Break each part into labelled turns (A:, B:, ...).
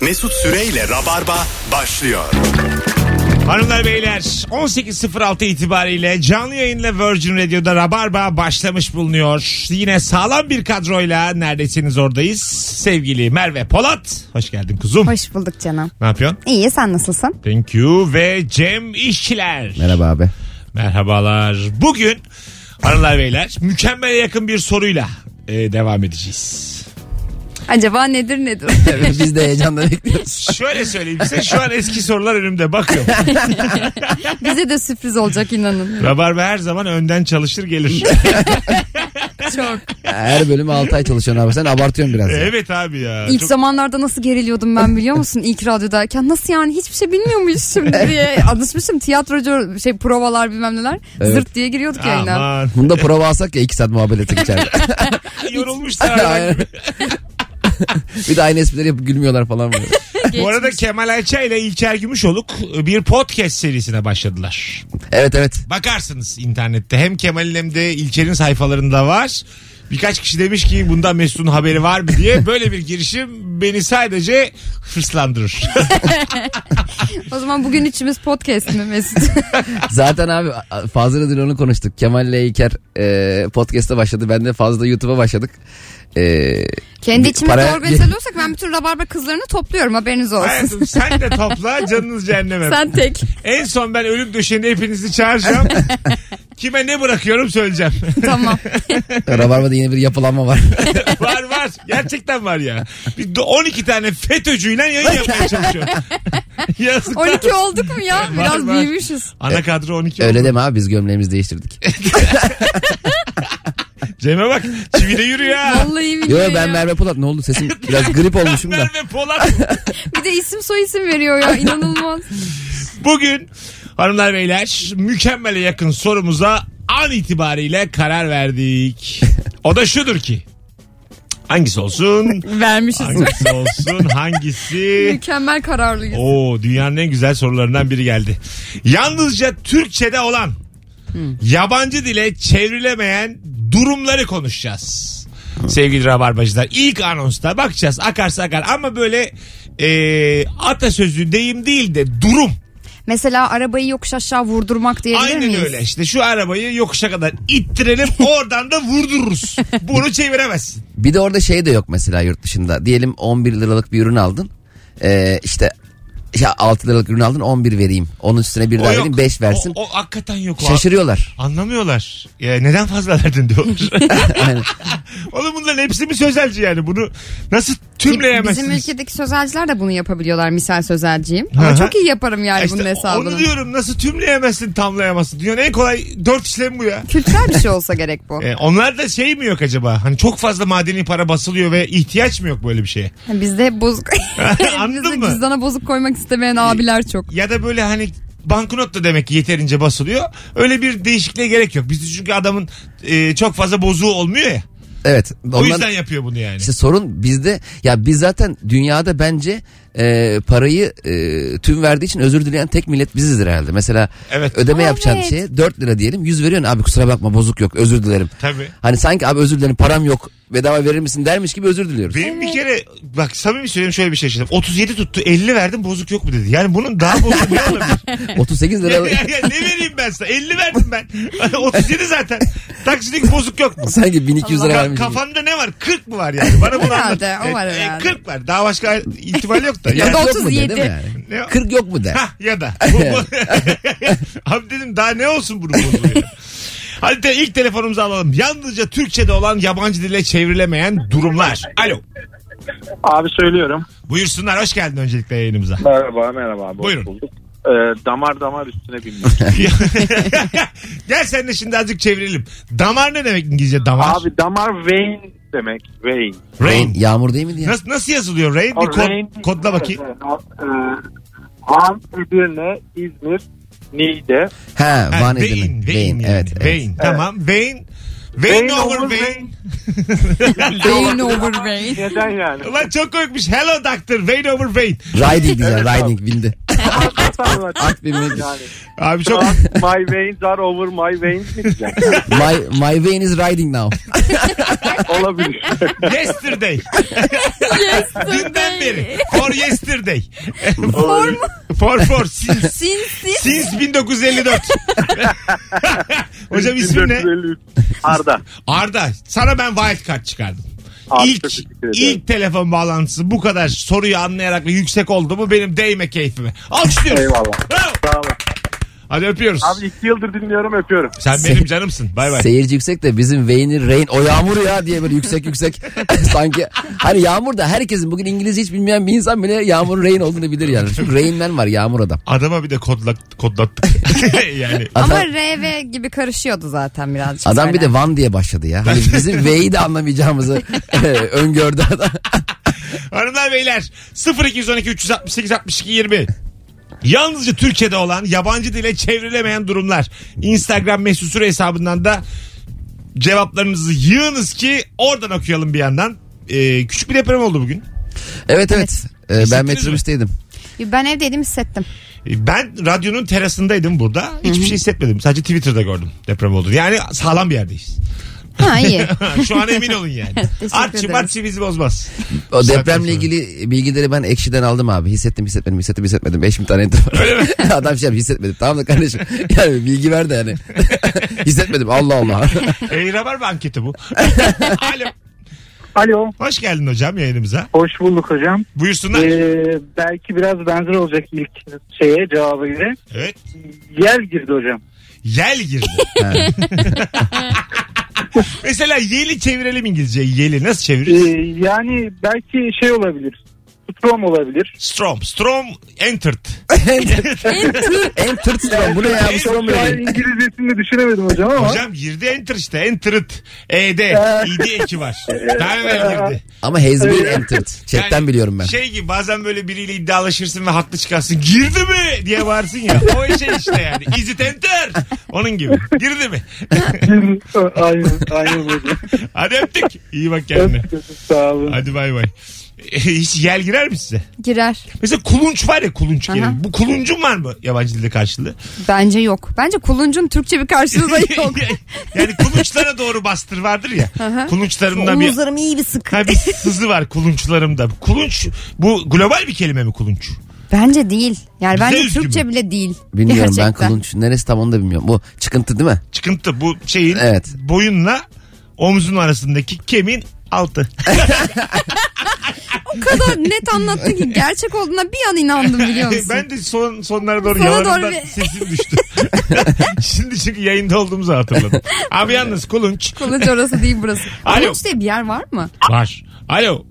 A: Mesut Süreyle Rabarba başlıyor.
B: Hanımlar beyler 18.06 itibariyle canlı yayınla Virgin Radio'da Rabarba başlamış bulunuyor. Yine sağlam bir kadroyla neredesiniz oradayız. Sevgili Merve Polat. Hoş geldin kuzum.
C: Hoş bulduk canım.
B: Ne yapıyorsun?
C: İyi sen nasılsın?
B: Thank you ve Cem İşçiler.
D: Merhaba abi.
B: Merhabalar. Bugün hanımlar beyler mükemmele yakın bir soruyla e, devam edeceğiz.
C: Acaba nedir nedir?
D: Biz de heyecanla bekliyoruz.
B: Şöyle söyleyeyim size şu an eski sorular önümde bakıyorum.
C: Bize de sürpriz olacak inanın.
B: Rabarba her zaman önden çalışır gelir.
C: Çok.
D: Her bölüm 6 ay çalışıyorsun abi. Sen abartıyorsun biraz. ya.
B: evet abi ya.
C: İlk
B: Çok-
C: zamanlarda nasıl geriliyordum ben biliyor musun? İlk radyodayken nasıl yani hiçbir şey bilmiyor muyuz şimdi diye alışmışım. Tiyatrocu şey provalar bilmem neler.
D: Evet.
C: Zırt diye giriyorduk yayına.
B: Aman.
D: Bunu da prova alsak ya 2 saat muhabbet etsek içeride.
B: Yorulmuşlar.
D: Aynen. bir de aynı esprileri yapıp gülmüyorlar falan böyle.
B: Bu arada Kemal Ayça ile İlker Gümüşoluk e, bir podcast serisine başladılar.
D: Evet evet.
B: Bakarsınız internette hem Kemal'in hem de İlker'in sayfalarında var. Birkaç kişi demiş ki bundan Mesut'un haberi var mı diye. Böyle bir girişim beni sadece hırslandırır.
C: O zaman bugün üçümüz podcast mi Mesut?
D: Zaten abi Fazıl dün onu konuştuk. Kemal ile İlker e, podcast'a başladı. Ben de Fazla YouTube'a başladık. E,
C: Kendi
D: bir
C: içimizde
D: para-
C: organize oluyorsak ben bütün rabarba kızlarını topluyorum haberiniz olsun.
B: Hayatım sen de topla canınız cehenneme.
C: Sen tek.
B: En son ben ölüm döşeğinde hepinizi çağıracağım. Kime ne bırakıyorum söyleyeceğim.
C: tamam.
D: Rabarba'da yeni bir yapılanma var.
B: var var. Gerçekten var ya. Bir de 12 tane FETÖ'cüyle yayın yapmaya çalışıyor. Yazıklar.
C: 12 olduk mu ya? Biraz
B: var.
C: büyümüşüz.
B: Ana kadro 12
D: Öyle
B: oldu.
D: deme abi biz gömleğimizi değiştirdik.
B: Cem'e bak çivide yürüyor ha.
C: Vallahi billahi
D: Yo ben
C: ya.
D: Merve Polat ne oldu sesim biraz grip olmuşum da.
B: Merve Polat.
C: Bir de isim soy isim veriyor ya inanılmaz.
B: Bugün hanımlar beyler mükemmele yakın sorumuza an itibariyle karar verdik. O da şudur ki. Hangisi olsun?
C: Vermişiz.
B: Hangisi olsun? Hangisi?
C: Mükemmel kararlıyız.
B: Oo dünyanın en güzel sorularından biri geldi. Yalnızca Türkçe'de olan
D: Hmm.
B: yabancı dile çevrilemeyen durumları konuşacağız.
D: Hmm.
B: Sevgili Rabarbacılar ilk anonsta bakacağız akarsa akar ama böyle e, atasözü deyim değil de durum.
C: Mesela arabayı yokuş aşağı vurdurmak diyebilir
B: Aynen
C: miyiz?
B: öyle işte şu arabayı yokuşa kadar ittirelim oradan da vurdururuz. Bunu çeviremezsin.
D: Bir de orada şey de yok mesela yurt dışında. Diyelim 11 liralık bir ürün aldın. Ee, işte ya 6 liralık ürün aldın 11 vereyim. Onun üstüne bir
B: O
D: daha
B: yok.
D: vereyim 5 versin.
B: O, o hakikaten yok. o.
D: Şaşırıyorlar.
B: Anlamıyorlar. Ya neden fazla verdin diyorlar.
D: Aynen.
B: Oğlum bunların hepsi mi sözelci yani? Bunu nasıl
C: Bizim
B: tümleyemezsiniz?
C: ülkedeki sözelciler de bunu yapabiliyorlar misal sözelciyim.
B: Hı hı.
C: Ama çok iyi yaparım yani
B: Ya işte
C: bunun hesabını.
B: Onu diyorum nasıl tümleyemezsin tamlayamazsın. Dünyanın en kolay dört işlem bu ya.
C: Kültürel bir şey olsa gerek bu.
B: Ee, onlar da şey mi yok acaba? Hani çok fazla madeni para basılıyor ve ihtiyaç mı yok böyle bir şeye?
C: Bizde hep bozuk.
B: Anladın
C: Bizde
B: mı?
C: cüzdana bozuk koymak istemeyen abiler çok.
B: Ya da böyle hani banknot da demek ki yeterince basılıyor. Öyle bir değişikliğe gerek yok. Bizde çünkü adamın e, çok fazla bozuğu olmuyor ya.
D: Evet.
B: O
D: Ondan,
B: yüzden yapıyor bunu yani.
D: işte sorun bizde ya biz zaten dünyada bence e, parayı e, tüm verdiği için özür dileyen tek millet bizizdir herhalde. Mesela
B: Evet.
D: ödeme
C: Aa,
D: yapacağın
C: evet.
D: şeye 4 lira diyelim 100 veriyorsun abi kusura bakma bozuk yok özür dilerim.
B: Tabii.
D: Hani sanki abi özür dilerim param yok bedava verir misin dermiş gibi özür diliyoruz.
B: Benim bir kere bak samimi söylüyorum şöyle bir şey yaşadım. 37 tuttu 50 verdim bozuk yok mu dedi. Yani bunun daha bozuk ne olabilir?
D: 38
B: Ya-
D: lira
B: ya- ya ne vereyim ben sana 50 verdim ben. 37 zaten. Taksidik bozuk yok mu?
D: Sanki 1200 lira
B: Ka-
D: vermiş. gibi.
B: kafanda ne var? 40 mı var yani? Bana bunu anlat.
C: Herhalde, o var
B: E, e,
C: herhalde.
B: 40 var. Daha başka ihtimal yok da.
C: Ya
B: Yani,
C: da
D: Yok mu de, değil mi
C: 37.
D: yani?
B: ne o?
D: 40 yok mu de.
B: Hah, ya da. Bu- bu- Abi dedim daha ne olsun bunun bozuluyor. Hadi de ilk telefonumuzu alalım. Yalnızca Türkçe'de olan yabancı dile çevrilemeyen durumlar. Alo.
E: Abi söylüyorum.
B: Buyursunlar hoş geldin öncelikle yayınımıza.
E: Merhaba merhaba. Abi,
B: Buyurun.
E: Hoş bulduk. Ee, damar damar üstüne binmiş.
B: Gel sen de şimdi azıcık çevirelim. Damar ne demek İngilizce damar?
E: Abi damar vein demek. Vein.
B: rain.
D: Yağmur değil mi diye.
B: Nasıl, nasıl yazılıyor rain? Bir kod- kodla bakayım.
E: Ee, Van, Edirne, İzmir, Niğde.
D: Ha,
B: Ha,
D: Van
B: vein,
D: Edirne.
B: vein,
D: Vein,
B: yani.
D: evet. evet.
B: Vein, tamam. Vein. Vein,
E: Vein
B: over
E: over
B: vein.
C: Beyin over brain.
E: Neden yani?
B: Ulan çok koymuş. Hello doctor, vein over vein.
D: Riding diyeceğim, riding bindi. At, at, at bir medi-
E: Yani
B: Abi
E: şu
B: çok
E: an my veins are over my veins mi diyeceğim?
D: my, my vein is riding now.
E: Olabilir.
B: yesterday. Dünden beri. For yesterday.
C: Form
B: For for since.
C: sinsi.
B: Since 1954. Hocam ismin ne?
E: 1453. Arda.
B: Arda sana ben wild card çıkardım.
E: Abi çok
B: ilk,
E: teşekkür ederim.
B: ilk telefon bağlantısı bu kadar soruyu anlayarak ve yüksek oldu mu benim değme keyfime. Alkışlıyoruz.
E: Eyvallah.
B: Bravo.
E: Sağ olun.
B: Hadi öpüyoruz.
E: Abi iki yıldır dinliyorum öpüyorum.
B: Sen benim canımsın. Bay bay.
D: Seyirci yüksek de bizim Wayne'i rain o yağmur ya diye böyle yüksek yüksek sanki hani yağmur da herkesin bugün İngilizce hiç bilmeyen bir insan bile yağmurun rain olduğunu bilir yani. Çünkü rain man var yağmur adam.
B: Adama bir de kodlak, kodlattık. yani
D: Adam,
C: Ama RV gibi karışıyordu zaten birazcık.
D: adam bir
C: böyle.
D: de van diye başladı ya. Hani bizim W'yi de anlamayacağımızı öngördü adam.
B: Hanımlar beyler 0212 368 62 20 Yalnızca Türkiye'de olan yabancı dile çevrilemeyen durumlar. Instagram mesut süre hesabından da cevaplarınızı yığınız ki oradan okuyalım bir yandan. Ee, küçük bir deprem oldu bugün.
D: evet evet. Ee, ben
B: Hissettiniz mi?
D: metrobüsteydim.
C: Ben evdeydim hissettim.
B: Ee, Ben radyonun terasındaydım burada. Hiçbir şey hissetmedim. Sadece Twitter'da gördüm deprem oldu. Yani sağlam bir yerdeyiz.
C: Ha iyi.
B: Şu an emin olun yani.
C: Teşekkür
B: Artçı
C: ederim.
B: martçı bizi bozmaz.
D: O
B: Sakın söyle.
D: depremle ilgili bilgileri ben ekşiden aldım abi. Hissettim hissetmedim hissettim hissetmedim. Beş bin tane enter var. Adam şey yapmış, hissetmedim. Tamam da kardeşim. Yani bilgi ver de yani. hissetmedim Allah Allah.
B: Ey Ee, var mı anketi bu? Alo.
F: Alo.
B: Hoş geldin hocam yayınımıza.
F: Hoş bulduk hocam.
B: Buyursunlar.
F: Ee, belki biraz benzer olacak ilk şeye cevabı göre.
B: Evet.
F: Yer girdi hocam.
B: Yel girdi. Mesela yeli çevirelim İngilizce'ye. Yeli nasıl
F: Ee,
B: çeviririz?
F: yani belki şey olabilir. Strom olabilir.
B: Strom. Strom entered.
D: Enter Strom bu ne ya? Bu şey
F: Şu an
D: olmuyor.
F: İngilizcesini düşünemedim hocam ama.
B: Hocam girdi enter işte. Entered. E ED. İD eki var. Daha evvel girdi.
D: Ama has been entered. Chatten
B: Yani
D: biliyorum ben.
B: Şey gibi bazen böyle biriyle iddialaşırsın ve haklı çıkarsın. Girdi mi diye bağırsın ya. O şey işte yani. Is it enter? Onun gibi. Girdi mi?
F: aynen, aynen hocam.
B: Hadi öptük. İyi bak kendine.
F: Sağ olun.
B: Hadi bay bay. Hiç yel girer mi size?
C: Girer.
B: Mesela kulunç var ya kulunç
C: Aha.
B: gelin. Bu kuluncun var mı yabancı dilde karşılığı?
C: Bence yok. Bence kuluncun Türkçe bir karşılığı da yok.
B: yani kulunçlara doğru bastır vardır ya.
C: Aha.
B: kulunçlarımda bir,
C: Omuzlarım iyi bir sık.
B: ha, bir sızı var kulunçlarımda. Kulunç bu global bir kelime mi kulunç?
C: Bence değil. Yani
B: Bize
C: bence
B: üzgün
C: Türkçe bile değil.
D: Bilmiyorum ben
C: Gerçekten.
D: kulunç. Neresi tam onu da bilmiyorum. Bu çıkıntı değil mi?
B: Çıkıntı bu şeyin
D: Evet.
B: boyunla omzun arasındaki kemiğin altı.
C: O kadar net anlattın ki gerçek olduğuna bir an inandım biliyor musun?
B: ben de son sonlara doğru
C: Sona
B: yalanımdan
C: doğru bir-
B: sesim düştü. Şimdi çünkü yayında olduğumuzu hatırladım. Abi yalnız kulunç
C: Kulunç orası değil burası.
B: Alo.
C: Kulunç diye bir yer var mı?
B: var. Alo.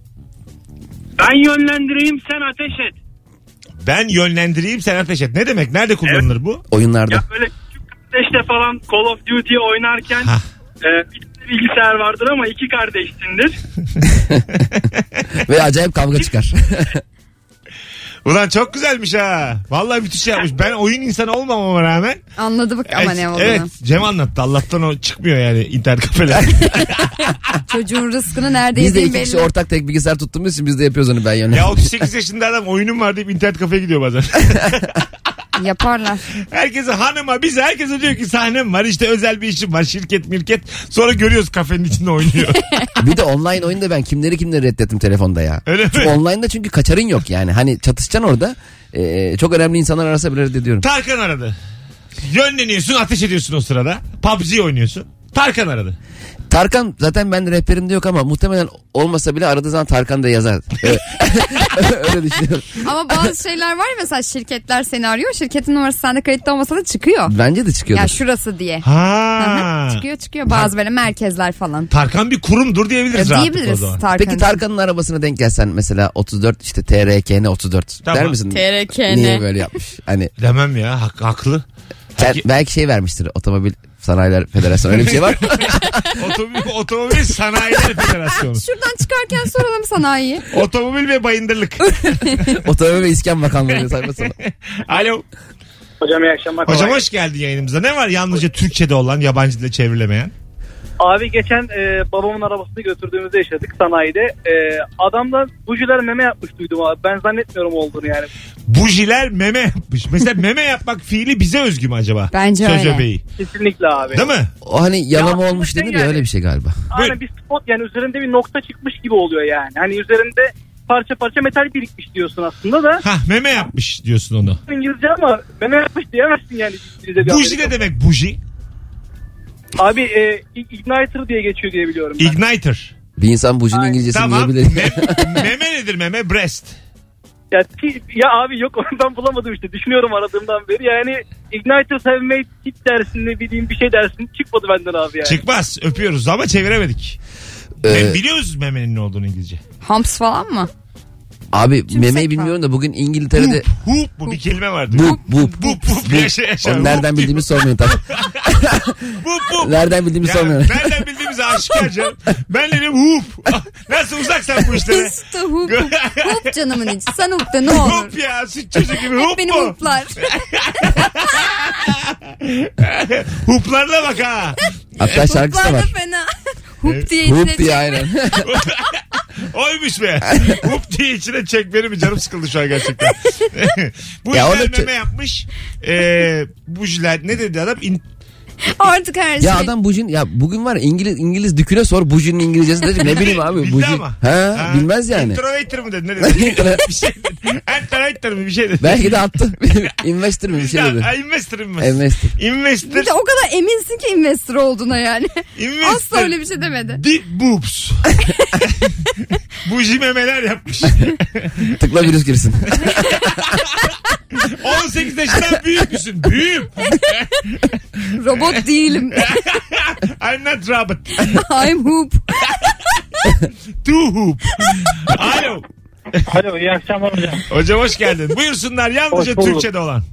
G: Ben yönlendireyim sen ateş et.
B: Ben yönlendireyim sen ateş et. Ne demek? Nerede kullanılır bu?
D: Oyunlarda.
G: Ya böyle küçük kardeşle falan Call of Duty oynarken
B: Hah.
G: e, bir tane bilgisayar vardır ama iki kardeşsindir.
D: Ve acayip kavga çıkar.
B: Ulan çok güzelmiş ha. Vallahi müthiş yapmış. Ben oyun insanı olmamama rağmen.
C: Anladık ama ne olduğunu.
B: Evet Cem anlattı. Allah'tan o çıkmıyor yani internet kafeler.
C: Çocuğun rızkını nerede
D: Biz de
C: yediğin
D: iki kişi
C: belli.
D: ortak tek bilgisayar tuttuğumuz için biz de yapıyoruz onu ben yani.
B: ya 38 yaşında adam oyunum var deyip internet kafeye gidiyor bazen.
C: Yaparlar.
B: herkese hanıma bize herkese diyor ki sahnem var işte özel bir işim var şirket mirket. Sonra görüyoruz kafenin içinde oynuyor.
D: Bir de online oyunda ben kimleri kimleri reddettim telefonda ya.
B: Öyle mi?
D: Çünkü online'da çünkü kaçarın yok yani. Hani çatışacaksın orada. Ee, çok önemli insanlar arasa bile reddediyorum.
B: Tarkan aradı. Yönleniyorsun ateş ediyorsun o sırada. PUBG oynuyorsun. Tarkan aradı.
D: Tarkan zaten ben rehberimde yok ama muhtemelen olmasa bile aradığı zaman Tarkan da yazar. Evet. Öyle düşünüyorum.
C: Ama bazı şeyler var ya mesela şirketler seni arıyor. Şirketin numarası sende kayıtlı olmasa da çıkıyor.
D: Bence de çıkıyordur.
C: Ya şurası diye.
B: Ha.
C: Aha, çıkıyor çıkıyor bazı böyle merkezler falan.
B: Tarkan bir kurumdur
C: Ya
B: diyebiliriz rahatlıkla o
C: diyebiliriz
B: zaman.
C: Tarkan.
D: Peki Tarkan'ın arabasına denk gelsen mesela 34 işte TRKN 34
B: Tamam.
D: der misin?
C: TRKN.
D: Niye böyle yapmış? Hani
B: Demem ya hak- haklı.
D: ter- belki şey vermiştir otomobil sanayiler federasyonu öyle bir şey var. mı?
B: Otomobil, otomobil Sanayiler Federasyonu.
C: Şuradan çıkarken soralım sanayiyi.
B: Otomobil ve bayındırlık.
D: otomobil ve İskan Bakanlığı sayfası.
B: Alo.
G: Hocam iyi akşamlar.
B: Hocam hoş geldin yayınımıza. Ne var yalnızca Türkçe'de olan, yabancı dile çevrilemeyen?
G: Abi geçen e, babamın arabasını götürdüğümüzde yaşadık sanayide. E, adamdan bujiler meme yapmış duydum abi. Ben zannetmiyorum olduğunu yani.
B: Bujiler meme yapmış. Mesela meme yapmak fiili bize özgü mü acaba?
C: Bence
B: Söz
C: öyle.
B: öbeği.
G: Kesinlikle abi.
B: Değil mi?
D: O hani yalama
G: Ya,
D: olmuş
G: şey
D: denir ya
G: yani.
D: öyle bir şey galiba.
B: Buyurun.
G: Aynen bir spot yani üzerinde bir nokta çıkmış gibi oluyor yani. Hani üzerinde parça parça metal birikmiş diyorsun aslında da.
B: Hah meme yapmış diyorsun onu.
G: İngilizce ama meme yapmış diyemezsin yani. İngilizce bir
B: Buji
G: Amerika.
B: ne demek buji?
G: Abi e, igniter diye geçiyor diye biliyorum ben.
B: Igniter.
D: Bir insan bujinin İngilizcesini
B: Tamam.
D: diyebilir.
B: Mem- meme nedir meme? Breast.
G: ya, ti- ya abi yok ondan bulamadım işte. Düşünüyorum aradığımdan beri. Yani igniters have made tip dersin ne bileyim bir şey dersin. Çıkmadı benden abi yani.
B: Çıkmaz. Öpüyoruz ama çeviremedik.
D: Ee,
B: Biliyoruz Biliyoruz memenin ne olduğunu İngilizce.
C: Hamps falan mı?
D: abi
C: Tümsek
D: memeyi
C: var.
D: bilmiyorum da bugün İngiltere'de
B: Hoop mu bir kelime vardı.
D: bup bup.
B: Bup bup yaşa yaşa.
D: Onu nereden bildiğimi sormayın tabii.
B: Bup bup.
D: Nereden bildiğimi
B: Ya
D: sormayın.
B: nereden bildiğimiz aşikar canım. Ben dedim hoop. Ah, Nasıl uzak sen bu işlere?
C: İşte hup. Hup canımın içi. Sen hup de ne olur.
B: hoop ya süt çocuk gibi hoop
C: Hep beni
B: mu?
C: huplar.
B: Hooplarına bak ha.
D: Hatta şarkısı da
C: Huplar da
D: var.
C: fena. Hup diye
D: Hup
C: içine
D: diye aynen.
B: Oymuş be. Hoop diye içine çek beni mi canım sıkıldı şu an gerçekten. bu
D: Ya
B: ya
D: onu-
B: meme yapmış. Ee, bu jiler ne dedi adam? İn-
C: Artık her şey.
D: ya adam bujin ya bugün var ya İngiliz İngiliz düküne sor bujinin İngilizcesi dedim ne bileyim abi
B: Bildi
D: bujin.
B: ama.
D: Ha, bilmez yani.
B: Introvator mı dedi? Ne dedi? bir şey dedi. Entrovator mı bir şey dedi.
D: Belki de attı. Investor mi bir şey dedi.
B: Ha, investor investor.
D: Investor.
B: Investor.
C: Bir de o kadar eminsin ki investor olduğuna yani.
B: investor.
C: Asla öyle bir şey demedi.
B: Deep boobs. Bu jimemeler yapmış.
D: Tıkla virüs girsin.
B: 18 yaşından büyük müsün? Büyüğüm.
C: Robot değilim.
B: I'm not Robert.
C: I'm hoop.
B: Too hoop. Alo.
F: Alo iyi akşamlar hocam.
B: Hocam hoş geldin. Buyursunlar yalnızca
F: Hoş bulduk.
B: Türkçe'de olan.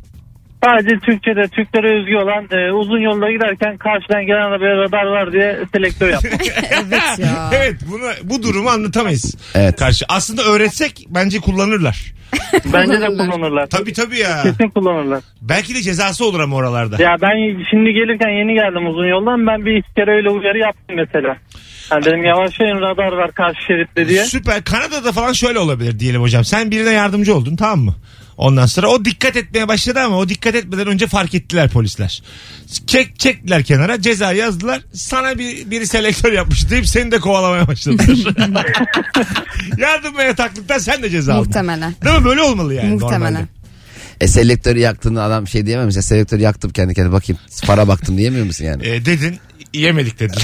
F: Sadece Türkçe'de Türklere özgü olan e, uzun yolda giderken karşıdan gelen arabaya radar var diye selektör yaptım.
C: Evet ya.
B: Evet bunu, bu durumu anlatamayız.
D: Evet.
B: Karşı. Aslında öğretsek bence kullanırlar.
F: Bence de
C: Kullanırlar.
F: kullanırlar.
B: Tabii tabii ya.
F: Kesin kullanırlar.
B: Belki de cezası olur ama oralarda.
F: Ya ben şimdi gelirken yeni geldim uzun yoldan. Ben bir iki kere öyle uyarı yaptım mesela. Yani dedim yavaşlayın radar var karşı şeritte diye.
B: Süper. Kanada'da falan şöyle olabilir diyelim hocam. Sen birine yardımcı oldun tamam mı? Ondan sonra o dikkat etmeye başladı ama o dikkat etmeden önce fark ettiler polisler. Çek, çektiler kenara ceza yazdılar. Sana bir, biri selektör yapmış deyip seni de kovalamaya başladılar. Yardım ve yataklıktan sen de ceza aldın.
C: Muhtemelen.
B: Değil mi? Böyle olmalı yani
C: Muhtemelen.
B: normalde.
D: E selektörü yaktığında adam şey diyemem mi? Sen Selektörü yaktım kendi kendime bakayım. Para baktım diyemiyor musun yani?
B: E, dedin yemedik dedin.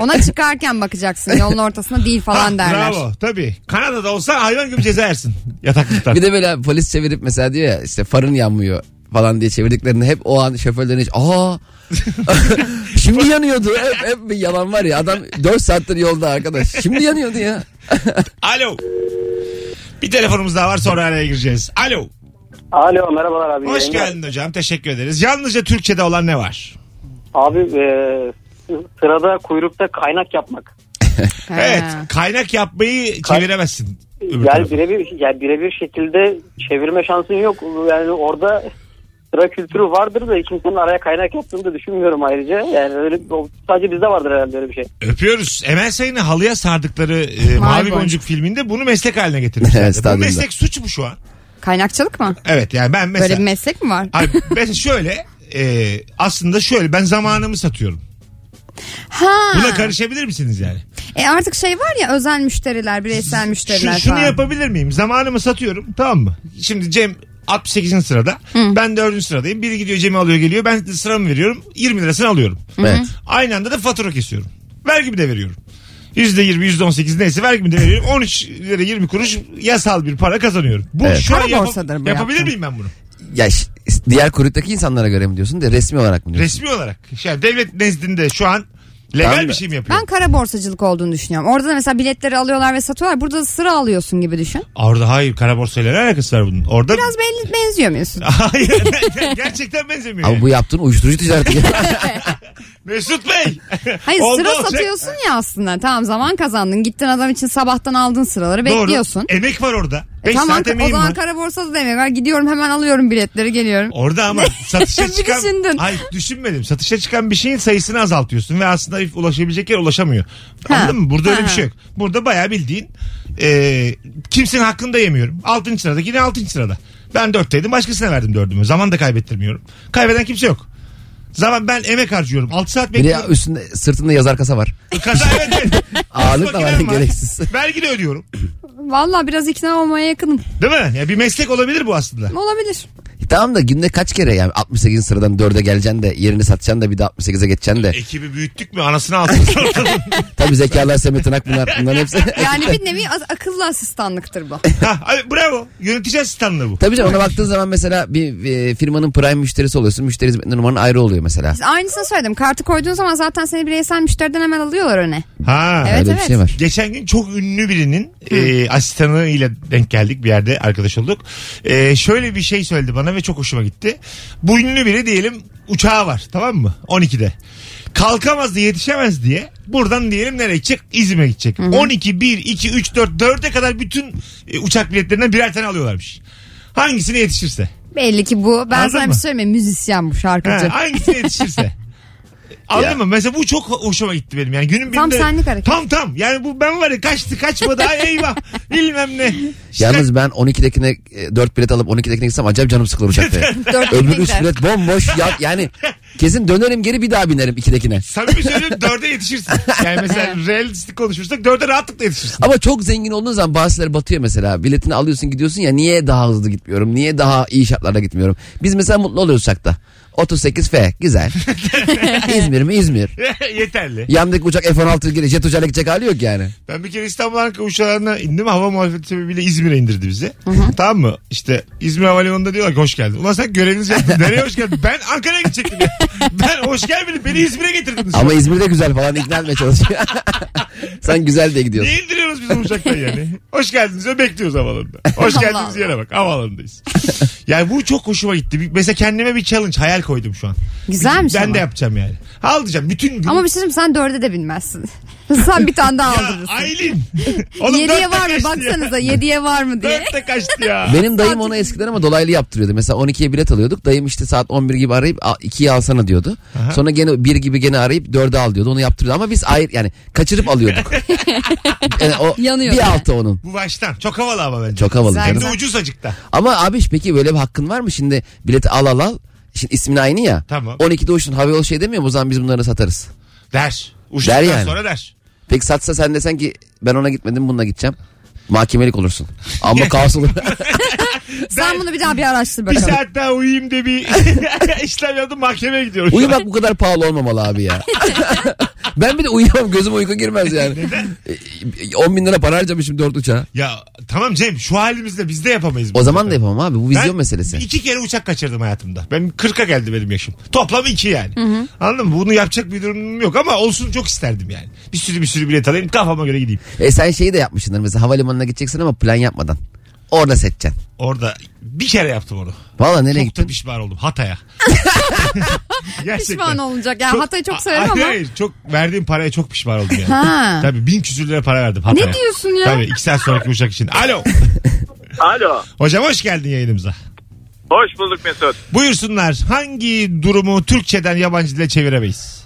C: Ona çıkarken bakacaksın yolun ortasında değil falan
B: Ha,
C: derler.
B: Bravo tabii. Kanada'da olsa hayvan gibi ceza yersin yataklıktan.
D: bir de böyle polis çevirip mesela diyor ya işte farın yanmıyor falan diye çevirdiklerinde hep o an şoförlerin hiç aa şimdi yanıyordu. Hep, hep bir yalan var ya adam 4 saattir yolda arkadaş. Şimdi yanıyordu ya.
B: Alo. Bir telefonumuz daha var sonra araya gireceğiz. Alo.
E: Alo merhabalar abi.
B: Hoş geldin hocam. Teşekkür ederiz. Yalnızca Türkçe'de olan ne var?
E: Abi sırada kuyrukta kaynak yapmak.
C: Ha.
B: Evet. Kaynak yapmayı çeviremezsin. öbür
E: Yani
B: tarafa.
E: birebir yani birebir şekilde çevirme şansın yok. Yani orada sıra kültürü vardır da kimsenin araya kaynak yaptığını da düşünmüyorum ayrıca. Yani öyle o- sadece bizde vardır herhalde öyle bir şey.
B: Öpüyoruz. Emel Sayın'ı halıya sardıkları e, Mavi
C: Boncuk.
B: Boncuk filminde bunu meslek haline getirmişler.
D: Evet,
B: Bu
D: stadyumda.
B: meslek suç mu şu an?
C: Kaynakçılık mı?
B: Evet yani ben mesela.
C: Böyle bir meslek mi var?
B: Ay, ben şöyle e, aslında şöyle ben zamanımı satıyorum.
C: Ha.
B: Buna karışabilir misiniz yani?
C: E artık şey var ya özel müşteriler, bireysel müşteriler
B: Şu, şunu
C: falan.
B: yapabilir miyim? Zamanımı satıyorum tamam mı? Şimdi Cem 68. sırada. Ben 4. sıradayım. Biri gidiyor Cem'i alıyor geliyor. Ben sıramı veriyorum. 20 lirasını alıyorum.
D: Evet.
B: Aynı anda da fatura kesiyorum. Vergimi de veriyorum. %20, %18 neyse vergimi de veriyorum. 13 lira 20 kuruş yasal bir para kazanıyorum. Bu
D: Evet.
B: şu an
C: Kara
B: yapa-
C: borsadır bu
B: yapabilir
C: yaptığın.
B: miyim ben bunu?
D: Ya ş- diğer kuyruktaki insanlara göre mi diyorsun de resmi olarak mı diyorsun?
B: Resmi olarak. Yani devlet nezdinde şu an legal
D: Ben de-
B: bir şey mi yapıyorum?
C: Ben kara borsacılık olduğunu düşünüyorum. Orada da mesela biletleri alıyorlar ve satıyorlar. Burada da sıra alıyorsun gibi düşün.
B: Orada hayır kara borsayla ne alakası var bunun? Orada
C: Biraz belli benziyor musun?
B: Hayır gerçekten benzemiyor.
D: Ama bu yaptığın uyuşturucu ticareti.
B: Mesut Bey.
C: Hayır
B: Oldu
C: sıra
B: olacak.
C: satıyorsun ya aslında. Tamam zaman kazandın. Gittin adam için sabahtan aldın sıraları
B: Doğru.
C: bekliyorsun.
B: Emek var orada.
C: E
B: 5
C: tamam
B: saat
C: o
B: emeğim
C: zaman
B: var.
C: kara borsada da emeği var. Gidiyorum hemen alıyorum biletleri geliyorum.
B: Orada ama satışa
C: Bir
B: çıkan...
C: düşündün.
B: Hayır düşünmedim. Satışa çıkan bir şeyin sayısını azaltıyorsun ve aslında ulaşabilecek yer ulaşamıyor.
C: Ha.
B: Anladın mı? Burada
C: Ha,
B: öyle bir
C: ha.
B: şey yok. Burada bayağı bildiğin e, kimsenin hakkını da yemiyorum. Altıncı sırada yine altıncı sırada. Ben dörtteydim başkasına verdim dördümü. Zaman da kaybettirmiyorum. Kaybeden kimse yok. Zaman ben emek harcıyorum. 6 saat
D: Bir de ya
B: bekliyorum.
D: üstünde sırtında yazar kasa var.
B: Kaza evet, evet.
D: Ağırlık da var,
B: Makinem
D: gereksiz.
B: Vergi de ödüyorum.
C: Valla biraz ikna olmaya yakınım.
B: Değil mi? Ya bir meslek olabilir bu aslında.
C: Olabilir.
D: E Tamam da günde kaç kere yani 68 sıradan 4'e geleceksin de yerini satacaksın da bir de 68'e geçeceksin de.
B: Ekibi büyüttük mü anasını alsın ortadan.
D: Tabii zekalar Semetin Akpınar bunların hepsi.
C: Yani bir nevi az- akıllı asistanlıktır bu.
B: ha, abi, bravo. Yönetici asistanlığı bu.
D: Tabii canım ona baktığın zaman mesela bir, bir firmanın prime müşterisi oluyorsun. Müşteri hizmetleri numaranın ayrı oluyor mesela.
C: Aynısını söyledim. Kartı koyduğun zaman zaten seni bireysel müşteriden hemen alıyorlar öne.
B: Ha.
C: Evet,
D: Öyle
C: evet.
D: bir şey var.
B: Geçen gün çok ünlü birinin e, asistanıyla denk geldik bir yerde arkadaş olduk. E, şöyle bir şey söyledi bana ve çok hoşuma gitti. Bu ünlü biri diyelim uçağı var tamam mı 12'de. Kalkamaz diye yetişemez diye buradan diyelim nereye gidecek? İzmir'e gidecek. 12, 1, 2, 3, 4, 4'e kadar bütün e, uçak biletlerinden birer tane alıyorlarmış. Hangisine yetişirse.
C: Belli ki bu. Ben
B: Anladın
C: sana
B: mı?
C: bir şey söyleyeyim mi? Müzisyen bu şarkıcı.
B: Ha, hangisine yetişirse. Anladın
D: Ya.
B: mı? Mesela bu çok hoşuma gitti benim. Yani günün
C: Tam
B: birinde-
C: senlik hareket.
B: Tam tam. Yani bu ben var ya kaçtı kaçmadı. Ay eyvah. Bilmem ne. İşte-
D: Yalnız ben 12'dekine 4 bilet alıp 12'dekine gitsem acayip canım sıkılır uçakta.
C: Dört
D: Öbür
C: tekrar.
D: 3 bilet bomboş. Ya, yani kesin dönerim geri bir daha binerim 2'dekine.
B: Samimi söylüyorum dörde yetişirsin. Yani mesela realistik konuşursak dörde rahatlıkla yetişirsin.
D: Ama çok zengin olduğun zaman bazıları batıyor mesela. Biletini alıyorsun gidiyorsun ya niye daha hızlı gitmiyorum? Niye daha iyi şartlarda gitmiyorum? Biz mesela mutlu oluyoruz uçakta. 38F güzel. İzmir mi İzmir?
B: Yeterli.
D: Yandaki uçak F-16 geliyor. Jet uçağıyla gidecek hali yok yani.
B: Ben bir kere İstanbul Ankara uçağına indim. Hava muhalefeti sebebiyle İzmir'e indirdi bizi. Tamam mı? İşte İzmir Havalimanı'nda diyorlar ki hoş geldin. Ulan sen görevinizi yaptın. Nereye hoş geldin? Ben Ankara'ya gidecektim. ya. ben hoş gelmedim. Beni İzmir'e getirdiniz.
D: Ama İzmir'de güzel falan ikna etmeye çalışıyor. Sen güzel diye gidiyorsun.
B: Ne indiriyoruz biz bu uçaktan yani? Hoş geldiniz ve bekliyoruz havalarında. Hoş
C: Allah
B: geldiniz
C: Allah.
B: yere bak havalarındayız. yani bu çok hoşuma gitti. Bir- Mesela kendime bir challenge hayal koydum şu an.
C: Güzelmiş
B: Ben
C: ama.
B: de yapacağım yani. Al diyeceğim bütün gün.
C: Ama bir şey söyleyeyim mi? sen dörde de binmezsin. sen bir tane daha
B: Ya,
C: aldırırsın.
B: Aylin.
C: Yediye
B: dörtte
C: var mı?
B: kaçtı Ya.
C: Baksanıza yediye var mı diye.
B: Dörtte kaçtı ya.
D: Benim dayım onu eskiden ama dolaylı yaptırıyordu. Mesela 12'ye bilet alıyorduk. Dayım işte saat 11 gibi arayıp 2'yi alsana diyordu. Sonra gene 1 gibi gene arayıp 4'e al diyordu. Onu yaptırıyordu ama biz ayrı yani kaçırıp alıyorduk. yani o
C: Yanıyor
D: bir
C: yani.
D: altı onun.
B: Bu baştan. Çok havalı ama bence.
D: Çok havalı
C: Güzel,
B: Hem
D: canım.
B: de
C: güzel.
B: ucuz acıkta.
D: Ama abi peki böyle bir hakkın var mı? Şimdi bileti al al al. Şimdi ismin aynı ya.
B: Tamam.
D: 12'de uçtun havayolu şey demiyor mu? O zaman biz bunları satarız.
B: Der. Uçtuktan
D: Der yani.
B: sonra der.
D: Peki satsa sen desen ki ben ona gitmedim bununla gideceğim. Mahkemelik olursun. Ama kaos olur.
C: Sen bunu bir daha bir araştır
B: Bir şey
C: bakalım.
B: saat daha uyuyayım de bir işlem yaptım mahkemeye gidiyorum.
D: Uyumak bu kadar pahalı olmamalı abi ya. ben bir de uyuyamam gözüm uyku girmez yani. 10 bin lira para harcamışım 4 uçağa.
B: Ya tamam Cem şu halimizde biz de yapamayız.
D: O
B: bunu.
D: zaman da yapamam abi bu
B: Ben
D: vizyon meselesi.
B: iki kere uçak kaçırdım hayatımda. Ben 40'a geldi benim yaşım. Toplam iki yani. Anladın mı? Bunu yapacak bir durumum yok ama olsun çok isterdim yani. Bir sürü bir sürü bilet alayım kafama göre gideyim.
D: E sen şeyi de yapmışsındır mesela havalimanına gideceksin ama plan yapmadan. Orada seçeceksin.
B: Orada bir kere yaptım onu.
D: Valla nereye
B: Çok da
D: gittin?
B: pişman oldum Hatay'a. Gerçekten.
C: Pişman olacak. Yani Hatay'ı çok severim
B: Hayır,
C: ama.
B: Hayır çok verdiğim paraya çok pişman oldum yani.
C: Ha.
B: Tabii bin küsür lira para verdim Hatay'a.
C: Ne diyorsun ya?
B: Tabii iki saat sonraki uçak için. Alo.
G: Alo.
B: Hocam hoş geldin yayınımıza.
G: Hoş bulduk Mesut.
B: Buyursunlar hangi durumu Türkçeden yabancı dile çeviremeyiz?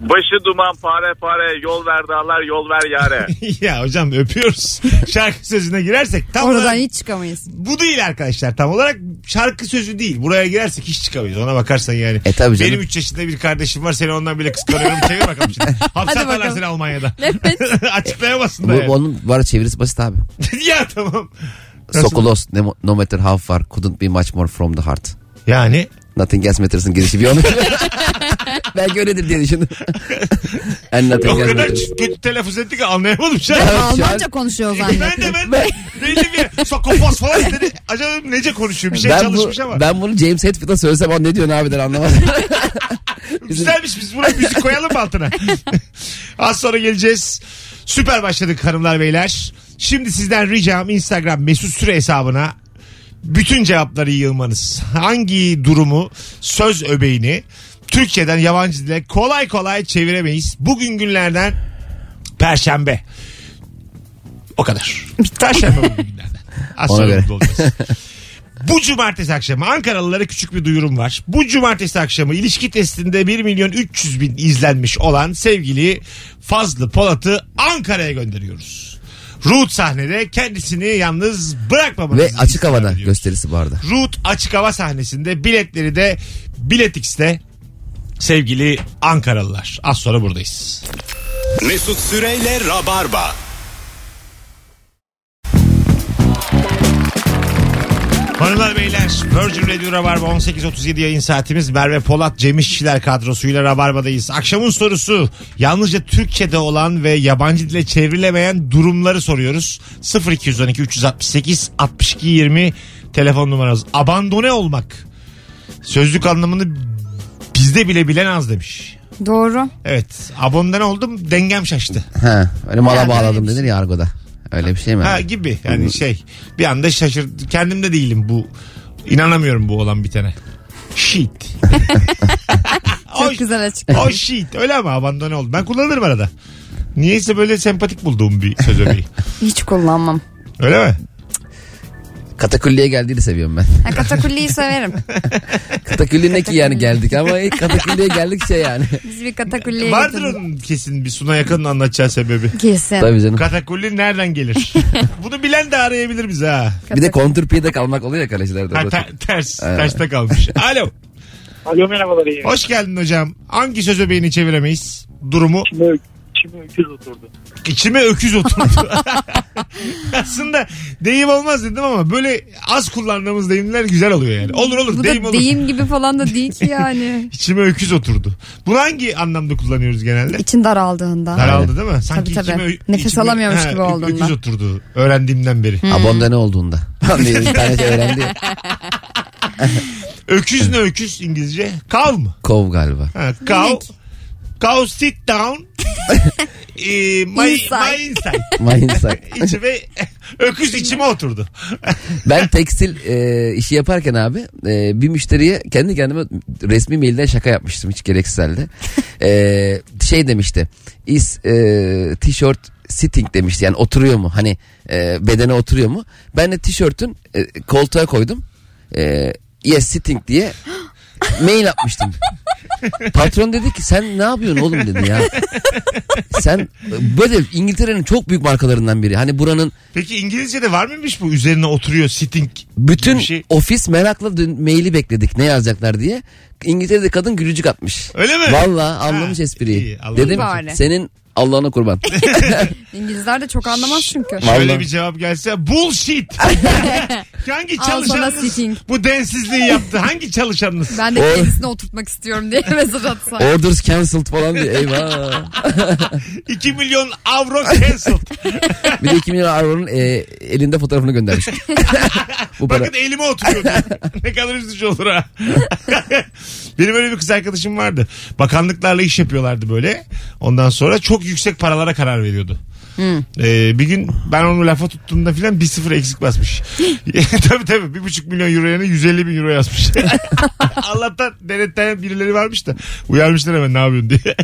G: Başı duman fare fare yol ver dağlar yol ver yare.
B: ya hocam öpüyoruz. Şarkı sözüne girersek tam
C: Oradan
B: olarak
C: hiç çıkamayız.
B: bu değil arkadaşlar tam olarak şarkı sözü değil. Buraya girersek hiç çıkamayız ona bakarsan yani.
D: E tabii canım.
B: Benim 3 yaşında bir kardeşim var seni ondan bile kıskanıyorum. Çevir bakalım şimdi. Hapse
C: Hadi
B: atarlar
C: bakalım.
B: seni Almanya'da.
C: Evet.
B: Açıklayamasın da
D: Bu,
B: yani.
D: bu onun var çevirisi basit abi.
B: ya tamam. Nasıl?
D: Sokolos no, no matter how far couldn't be much more from the heart.
B: Yani
D: Nothing else matters'ın girişi bir onu. Belki öyledir diye düşündüm. And
B: o
D: nothing else
B: kadar
D: matters.
B: kötü telaffuz ettik ki anlayamadım şu an.
D: Evet, şu an-
C: Almanca konuşuyor
B: şey- ben
C: zannediyorum.
B: de ben de. Belli bir sokopos falan dedi. Acaba dedim nece konuşuyor bir şey
D: ben, bu,
B: çalışmış ama.
D: ben bunu James Hetfield'a söylesem o ne diyorsun abi der anlamaz.
B: Güzelmiş biz buna müzik koyalım mı altına? Az sonra geleceğiz. Süper başladık hanımlar beyler. Şimdi sizden ricam Instagram mesut süre hesabına bütün cevapları yığmanız. Hangi durumu söz öbeğini Türkçeden yabancı dile kolay kolay çeviremeyiz. Bugün günlerden Perşembe. O kadar. Perşembe bugün günlerden. Az
D: Ona
B: sonra
D: göre.
B: burada olacağız. Bu cumartesi akşamı Ankaralılara küçük bir duyurum var. Bu cumartesi akşamı ilişki testinde 1 milyon 300 bin izlenmiş olan sevgili Fazlı Polat'ı Ankara'ya gönderiyoruz. Root sahnede kendisini yalnız bırakmamanızı
D: Ve açık
B: istirham
D: havada
B: ediyoruz.
D: gösterisi bu arada.
B: Root açık hava sahnesinde biletleri de Biletix'te sevgili Ankaralılar. Az sonra buradayız.
A: Mesut Süreyle Rabarba.
B: Hanımlar beyler Virgin Radio Rabarba 18.37 yayın saatimiz Merve Polat Cem İşçiler kadrosuyla Rabarba'dayız. Akşamın sorusu yalnızca Türkçe'de olan ve yabancı dile çevrilemeyen durumları soruyoruz. 0212 368 62 20 telefon numaramız. Abandone olmak sözlük anlamını bizde bile bilen az demiş.
C: Doğru.
B: Evet abandone oldum dengem şaştı.
D: Ha, öyle mala
C: Yani öyle
D: bağladım
C: bir
D: denir ya argoda. Öyle bir şey mi?
B: Ha gibi yani şey bir anda şaşırdım kendimde değilim bu inanamıyorum bu olan bitene. Shit.
C: Çok
B: Oy.
C: güzel açık.
B: Oh shit öyle ama abandone oldu. Ben kullanırım arada. Niyeyse böyle sempatik bulduğum bir söz örneği.
C: Hiç kullanmam.
B: Öyle mi?
D: Katakulliye geldiğini seviyorum ben.
C: Ha, katakulliyi severim.
D: Katakulli ne ki yani geldik ama ilk katakulliye geldik şey yani.
C: Biz bir katakulliye
B: Vardır
C: getirdik.
B: onun kesin bir Suna Yakın'ın anlatacağı sebebi.
C: Kesin.
D: Tabii canım.
B: Katakulli nereden gelir? Bunu bilen de arayabilir bizi ha.
D: Bir de kontrpiyede kalmak oluyor ya
B: ha
D: kalecilerde.
B: ter- ters, terste kalmış. Alo.
G: Alo merhabalar iyi.
B: Hoş geldin hocam. Hangi söz öbeğini çeviremeyiz? Durumu
G: Şimdi, şimdi öküz oturdu.
B: içime öküz oturdu. Aslında deyim olmaz dedim ama böyle az kullandığımız deyimler güzel oluyor yani. Olur olur
C: Bu
B: deyim
C: da
B: olur.
C: deyim gibi falan da değil ki yani.
B: İçime öküz oturdu. Bunu hangi anlamda kullanıyoruz genelde?
C: İçin daraldığında.
B: Daraldı değil mi? Sanki
C: Tabii, tabii.
B: içime-
C: Nefes
B: içime-
C: alamıyormuş gibi
B: ö-
C: olduğunda.
B: Öküz oturdu öğrendiğimden beri.
D: Abonda ne olduğunda. bir tane şey öğrendi. ya.
B: Öküz ne öküz İngilizce? Cow mı?
D: Kov galiba.
B: Ha, cow.
C: Binek.
B: Cow Uh, sit down. Ee, my,
C: Inside.
B: my inside.
D: Mayınsak.
B: İçime, öküz içime oturdu.
D: Ben tekstil e, işi yaparken abi e, bir müşteriye kendi kendime resmi mailden şaka yapmıştım hiç gereksiz halde. E, şey demişti. Is e, tişört sitting demişti yani oturuyor mu hani e, bedene oturuyor mu? Ben de tişörtün e, koltuğa koydum. E, yes sitting diye mail atmıştım. Patron dedi ki sen ne yapıyorsun oğlum dedi ya. Sen böyle İngiltere'nin çok büyük markalarından biri. Hani buranın
B: Peki İngilizce'de var mıymış bu üzerine oturuyor sitting?
D: bütün
B: Bir şey-
D: ofis merakla dün maili bekledik ne yazacaklar diye. İngiltere'de kadın gülücük atmış.
B: Öyle mi?
D: Vallahi anlamış
B: Ha,
D: espriyi.
B: iyi, Allah'ım.
D: Dedim
C: Bari.
D: senin Allah'ına kurban.
C: İngilizler de çok anlamaz çünkü.
B: Şöyle
D: Vallahi.
B: bir cevap gelse bullshit. Hangi
C: Al sana
B: çalışanınız
C: sitting.
B: bu densizliği yaptı? Hangi çalışanınız?
C: Ben de
D: O-
C: kendisine oturtmak istiyorum diye mesaj atsam.
D: Orders cancelled falan diye eyvah.
B: 2 milyon avro cancelled.
D: Bir de 2 milyon avronun e, elinde fotoğrafını göndermiş. Bu para.
B: Bakın elime oturuyor. ne kadar üzücü olur ha. Benim öyle bir kız arkadaşım vardı. Bakanlıklarla iş yapıyorlardı böyle. Ondan sonra çok yüksek paralara karar veriyordu.
D: Hmm.
B: Ee, bir gün ben onu lafa tuttuğumda filan bir sıfır eksik basmış. tabii tabii bir buçuk milyon euro yerine 150 bin euro yazmış. Allah'tan denetten birileri varmış da uyarmışlar hemen ne yapıyorsun diye.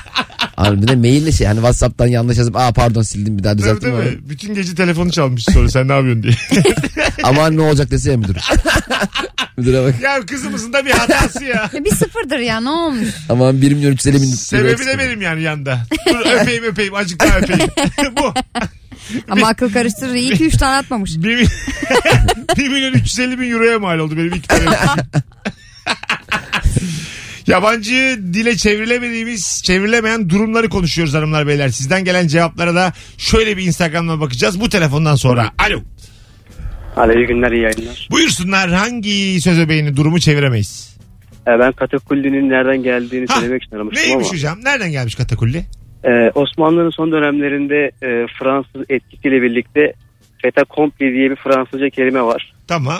D: Abi bir de maille şey hani Whatsapp'tan yanlış yazıp aa pardon sildim bir daha
B: tabii,
D: düzelttim.
B: tabii. Bütün gece telefonu çalmış sonra sen ne yapıyorsun diye.
D: Ama ne olacak dese ya müdür. Müdüre bak.
B: ya kızımızın da bir hatası ya.
C: Ya E, bir sıfırdır ya ne olmuş?
D: Aman 1 milyon 350 bin. euro
B: Sebebi
D: eksik.
B: de benim yani yanda. Dur öpeyim öpeyim azıcık daha öpeyim. Bu.
C: Ama akıl karıştırır. İyi ki 3 tane atmamış.
B: 1, mi- 1 milyon 350 bin euroya mal oldu benim iki tane. Yabancı dile çevrilemediğimiz, çevrilemeyen durumları konuşuyoruz hanımlar beyler. Sizden gelen cevaplara da şöyle bir Instagram'dan bakacağız. Bu telefondan sonra. Alo.
G: Alo iyi günler iyi yayınlar.
B: Buyursunlar hangi söz öbeğini durumu çeviremeyiz?
G: Ee, ben Katakulli'nin nereden geldiğini
B: Ha,
G: söylemek için aramıştım ama.
B: Neymiş hocam? Nereden gelmiş katakulli?
G: Ee, Osmanlı'nın son dönemlerinde e, Fransız etkisiyle birlikte feta kompli diye bir Fransızca kelime var.
B: Tamam.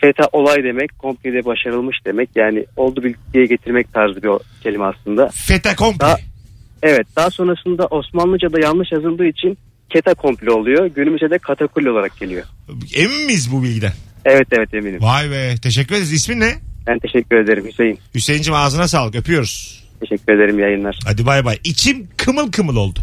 G: Feta olay demek, kompli de başarılmış demek. Yani oldu bilgiye getirmek tarzı bir o- kelime aslında.
B: Feta komple.
G: Ha. Evet, daha sonrasında Osmanlıca'da yanlış yazıldığı için keta kompli oluyor. Günümüzde de katakulli olarak geliyor.
B: Emin miyiz bu bilgiden?
G: Evet evet eminim.
B: Vay be. Teşekkür ederiz. İsmin ne?
G: Ben teşekkür ederim Hüseyin.
B: Hüseyin'cim ağzına sağlık öpüyoruz.
G: Teşekkür ederim yayınlar.
B: Hadi bay bay. İçim kımıl kımıl oldu.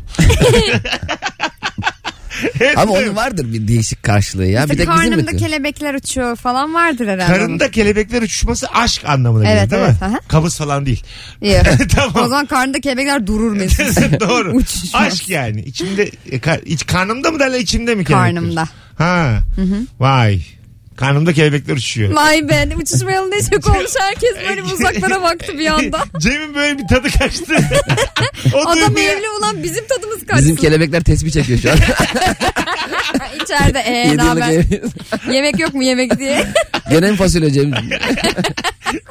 D: Ama onun vardır bir değişik karşılığı ya. Bir
C: İşte
D: de bizim
C: karnımda
D: mi?
C: kelebekler uçuyor falan vardır herhalde.
B: Karında kelebekler uçuşması aşk anlamına
C: Evet,
B: gelir değil
C: evet,
B: mi?
C: aha.
B: Kabız falan değil.
C: İyi.
B: Tamam.
C: O zaman karnında kelebekler durur mesela.
B: Doğru.
C: Uçuşmaz.
B: Aşk yani. İçimde e, kar- iç karnımda mı derler içimde mi kelebekler?
C: Karnımda.
B: Ha. Vay. Karnımda kelebekler uçuyor.
C: Vay be uçuşmayalı ne çok olmuş herkes böyle bir uzaklara baktı bir anda.
B: Cem'in böyle bir tadı kaçtı. o
C: Adam
B: duyguya-
C: evli ulan bizim tadımız kaçsın.
D: Bizim kelebekler tesbih çekiyor şu an.
C: İçeride ee
D: Yedi
C: ne
D: yıllık
C: haber?
D: ev-
C: Yemek yok mu yemek diye.
D: Gene mi fasulye Cem?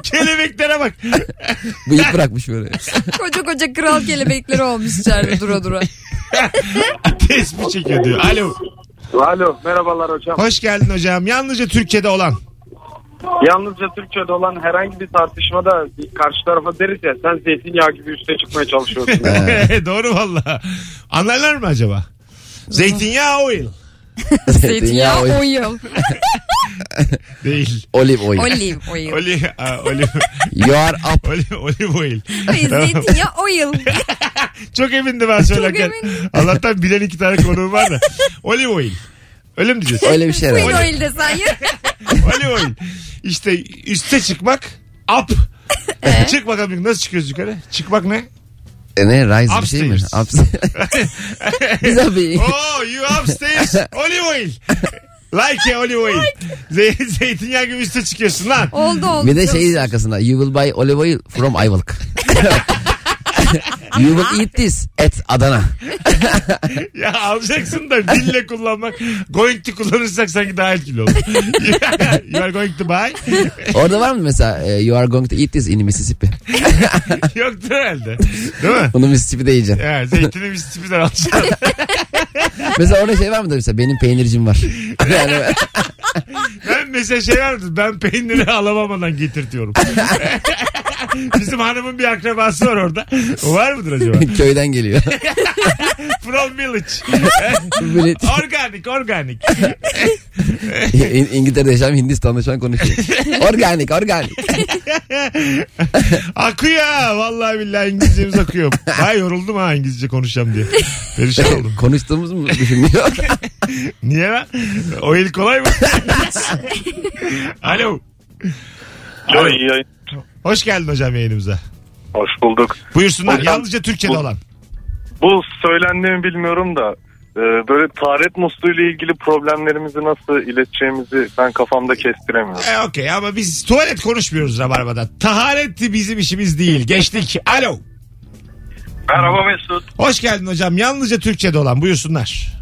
B: Kelebeklere bak.
D: Bıyık bırakmış böyle.
C: koca koca kral kelebekleri olmuş içeride dura dura.
B: Tespih çekiyor diyor. Alo.
H: Alo merhabalar hocam.
B: Hoş geldin hocam. Yalnızca Türkçe'de olan.
H: Yalnızca Türkçe'de olan herhangi bir tartışmada bir karşı tarafa deriz ya sen zeytinyağı gibi üste çıkmaya çalışıyorsun.
B: Doğru valla. Anlarlar mı acaba? Zeytinyağı oil.
C: Zeytinyağı
D: Zeytinyağı,
C: o yıl.
B: Değil.
D: Olive oil.
C: Olive oil.
B: Oli, a, oli,
D: You are up.
B: oli, olive oil.
C: Hayır zeytinyağı o yıl.
B: Çok emindim ben söylerken.
C: emindim.
B: Allah'tan bilen iki tane konuğum var da. Olive oil. Öyle mi diyeceğiz?
D: Öyle bir şey
C: Queen
D: herhalde.
C: oil desen ya.
B: Olive oil. İşte üste çıkmak. Up. Çık bakalım nasıl çıkıyoruz yukarı? Çıkmak ne?
D: E ne rise bir şey mi?
B: Upstairs.
D: Ups- Güzel bir
B: Oh you upstairs olive oil. Like a olive oil. Ze- zeytinyağı gibi üste çıkıyorsun lan.
C: Oldu oldu.
D: Bir de şey arkasında you will buy olive oil from Ayvalık. you will eat this at Adana.
B: Ya alacaksın da dille kullanmak. Going to kullanırsak sanki daha etkili olur. you are going to buy.
D: Orada var mı mesela e, you are going to eat this in Mississippi?
B: Yoktur herhalde. Değil mi?
D: Bunu Mississippi'de yiyeceksin.
B: Ya, zeytini biz tipiden alacağız.
D: mesela orada şey var mıdır mesela benim peynircim var. yani
B: Ben mesela şey vardı. Ben peyniri alamamadan getirtiyorum. Bizim hanımın bir akrabası var orada. O var mıdır acaba?
D: köyden geliyor.
B: From village.
D: Böyle
B: Organik, organik.
D: İn- İngiltere'de yaşayan Hindistan'da şu an konuşuyor. organik organik.
B: Akıyor ha, vallahi billahi İngilizcemiz akıyor. Ay yoruldum ha İngilizce konuşacağım diye. Perişan oldum.
D: Konuştuğumuz mu düşünmüyor?
B: Niye lan? O el kolay mı? Alo. Alo. Hoş geldin hocam yayınımıza.
H: Hoş bulduk.
B: Buyursunlar.
H: Hocam,
B: Yalnızca Türkçe'de
H: bu-
B: olan.
H: Bu söylendiğimi bilmiyorum da e, böyle taharet musluğuyla ilgili problemlerimizi nasıl ileteceğimizi ben kafamda kestiremiyorum.
B: E, Okey ama biz tuvalet konuşmuyoruz Rabarba'da. Taharet bizim işimiz değil. Geçtik. Alo.
G: Merhaba Mesut.
B: Hoş geldin hocam. Yalnızca Türkçe'de olan. Buyursunlar.